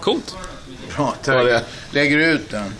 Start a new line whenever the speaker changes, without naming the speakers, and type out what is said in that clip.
Coolt.
Bra, tack.
Var det?
Lägger du ut den?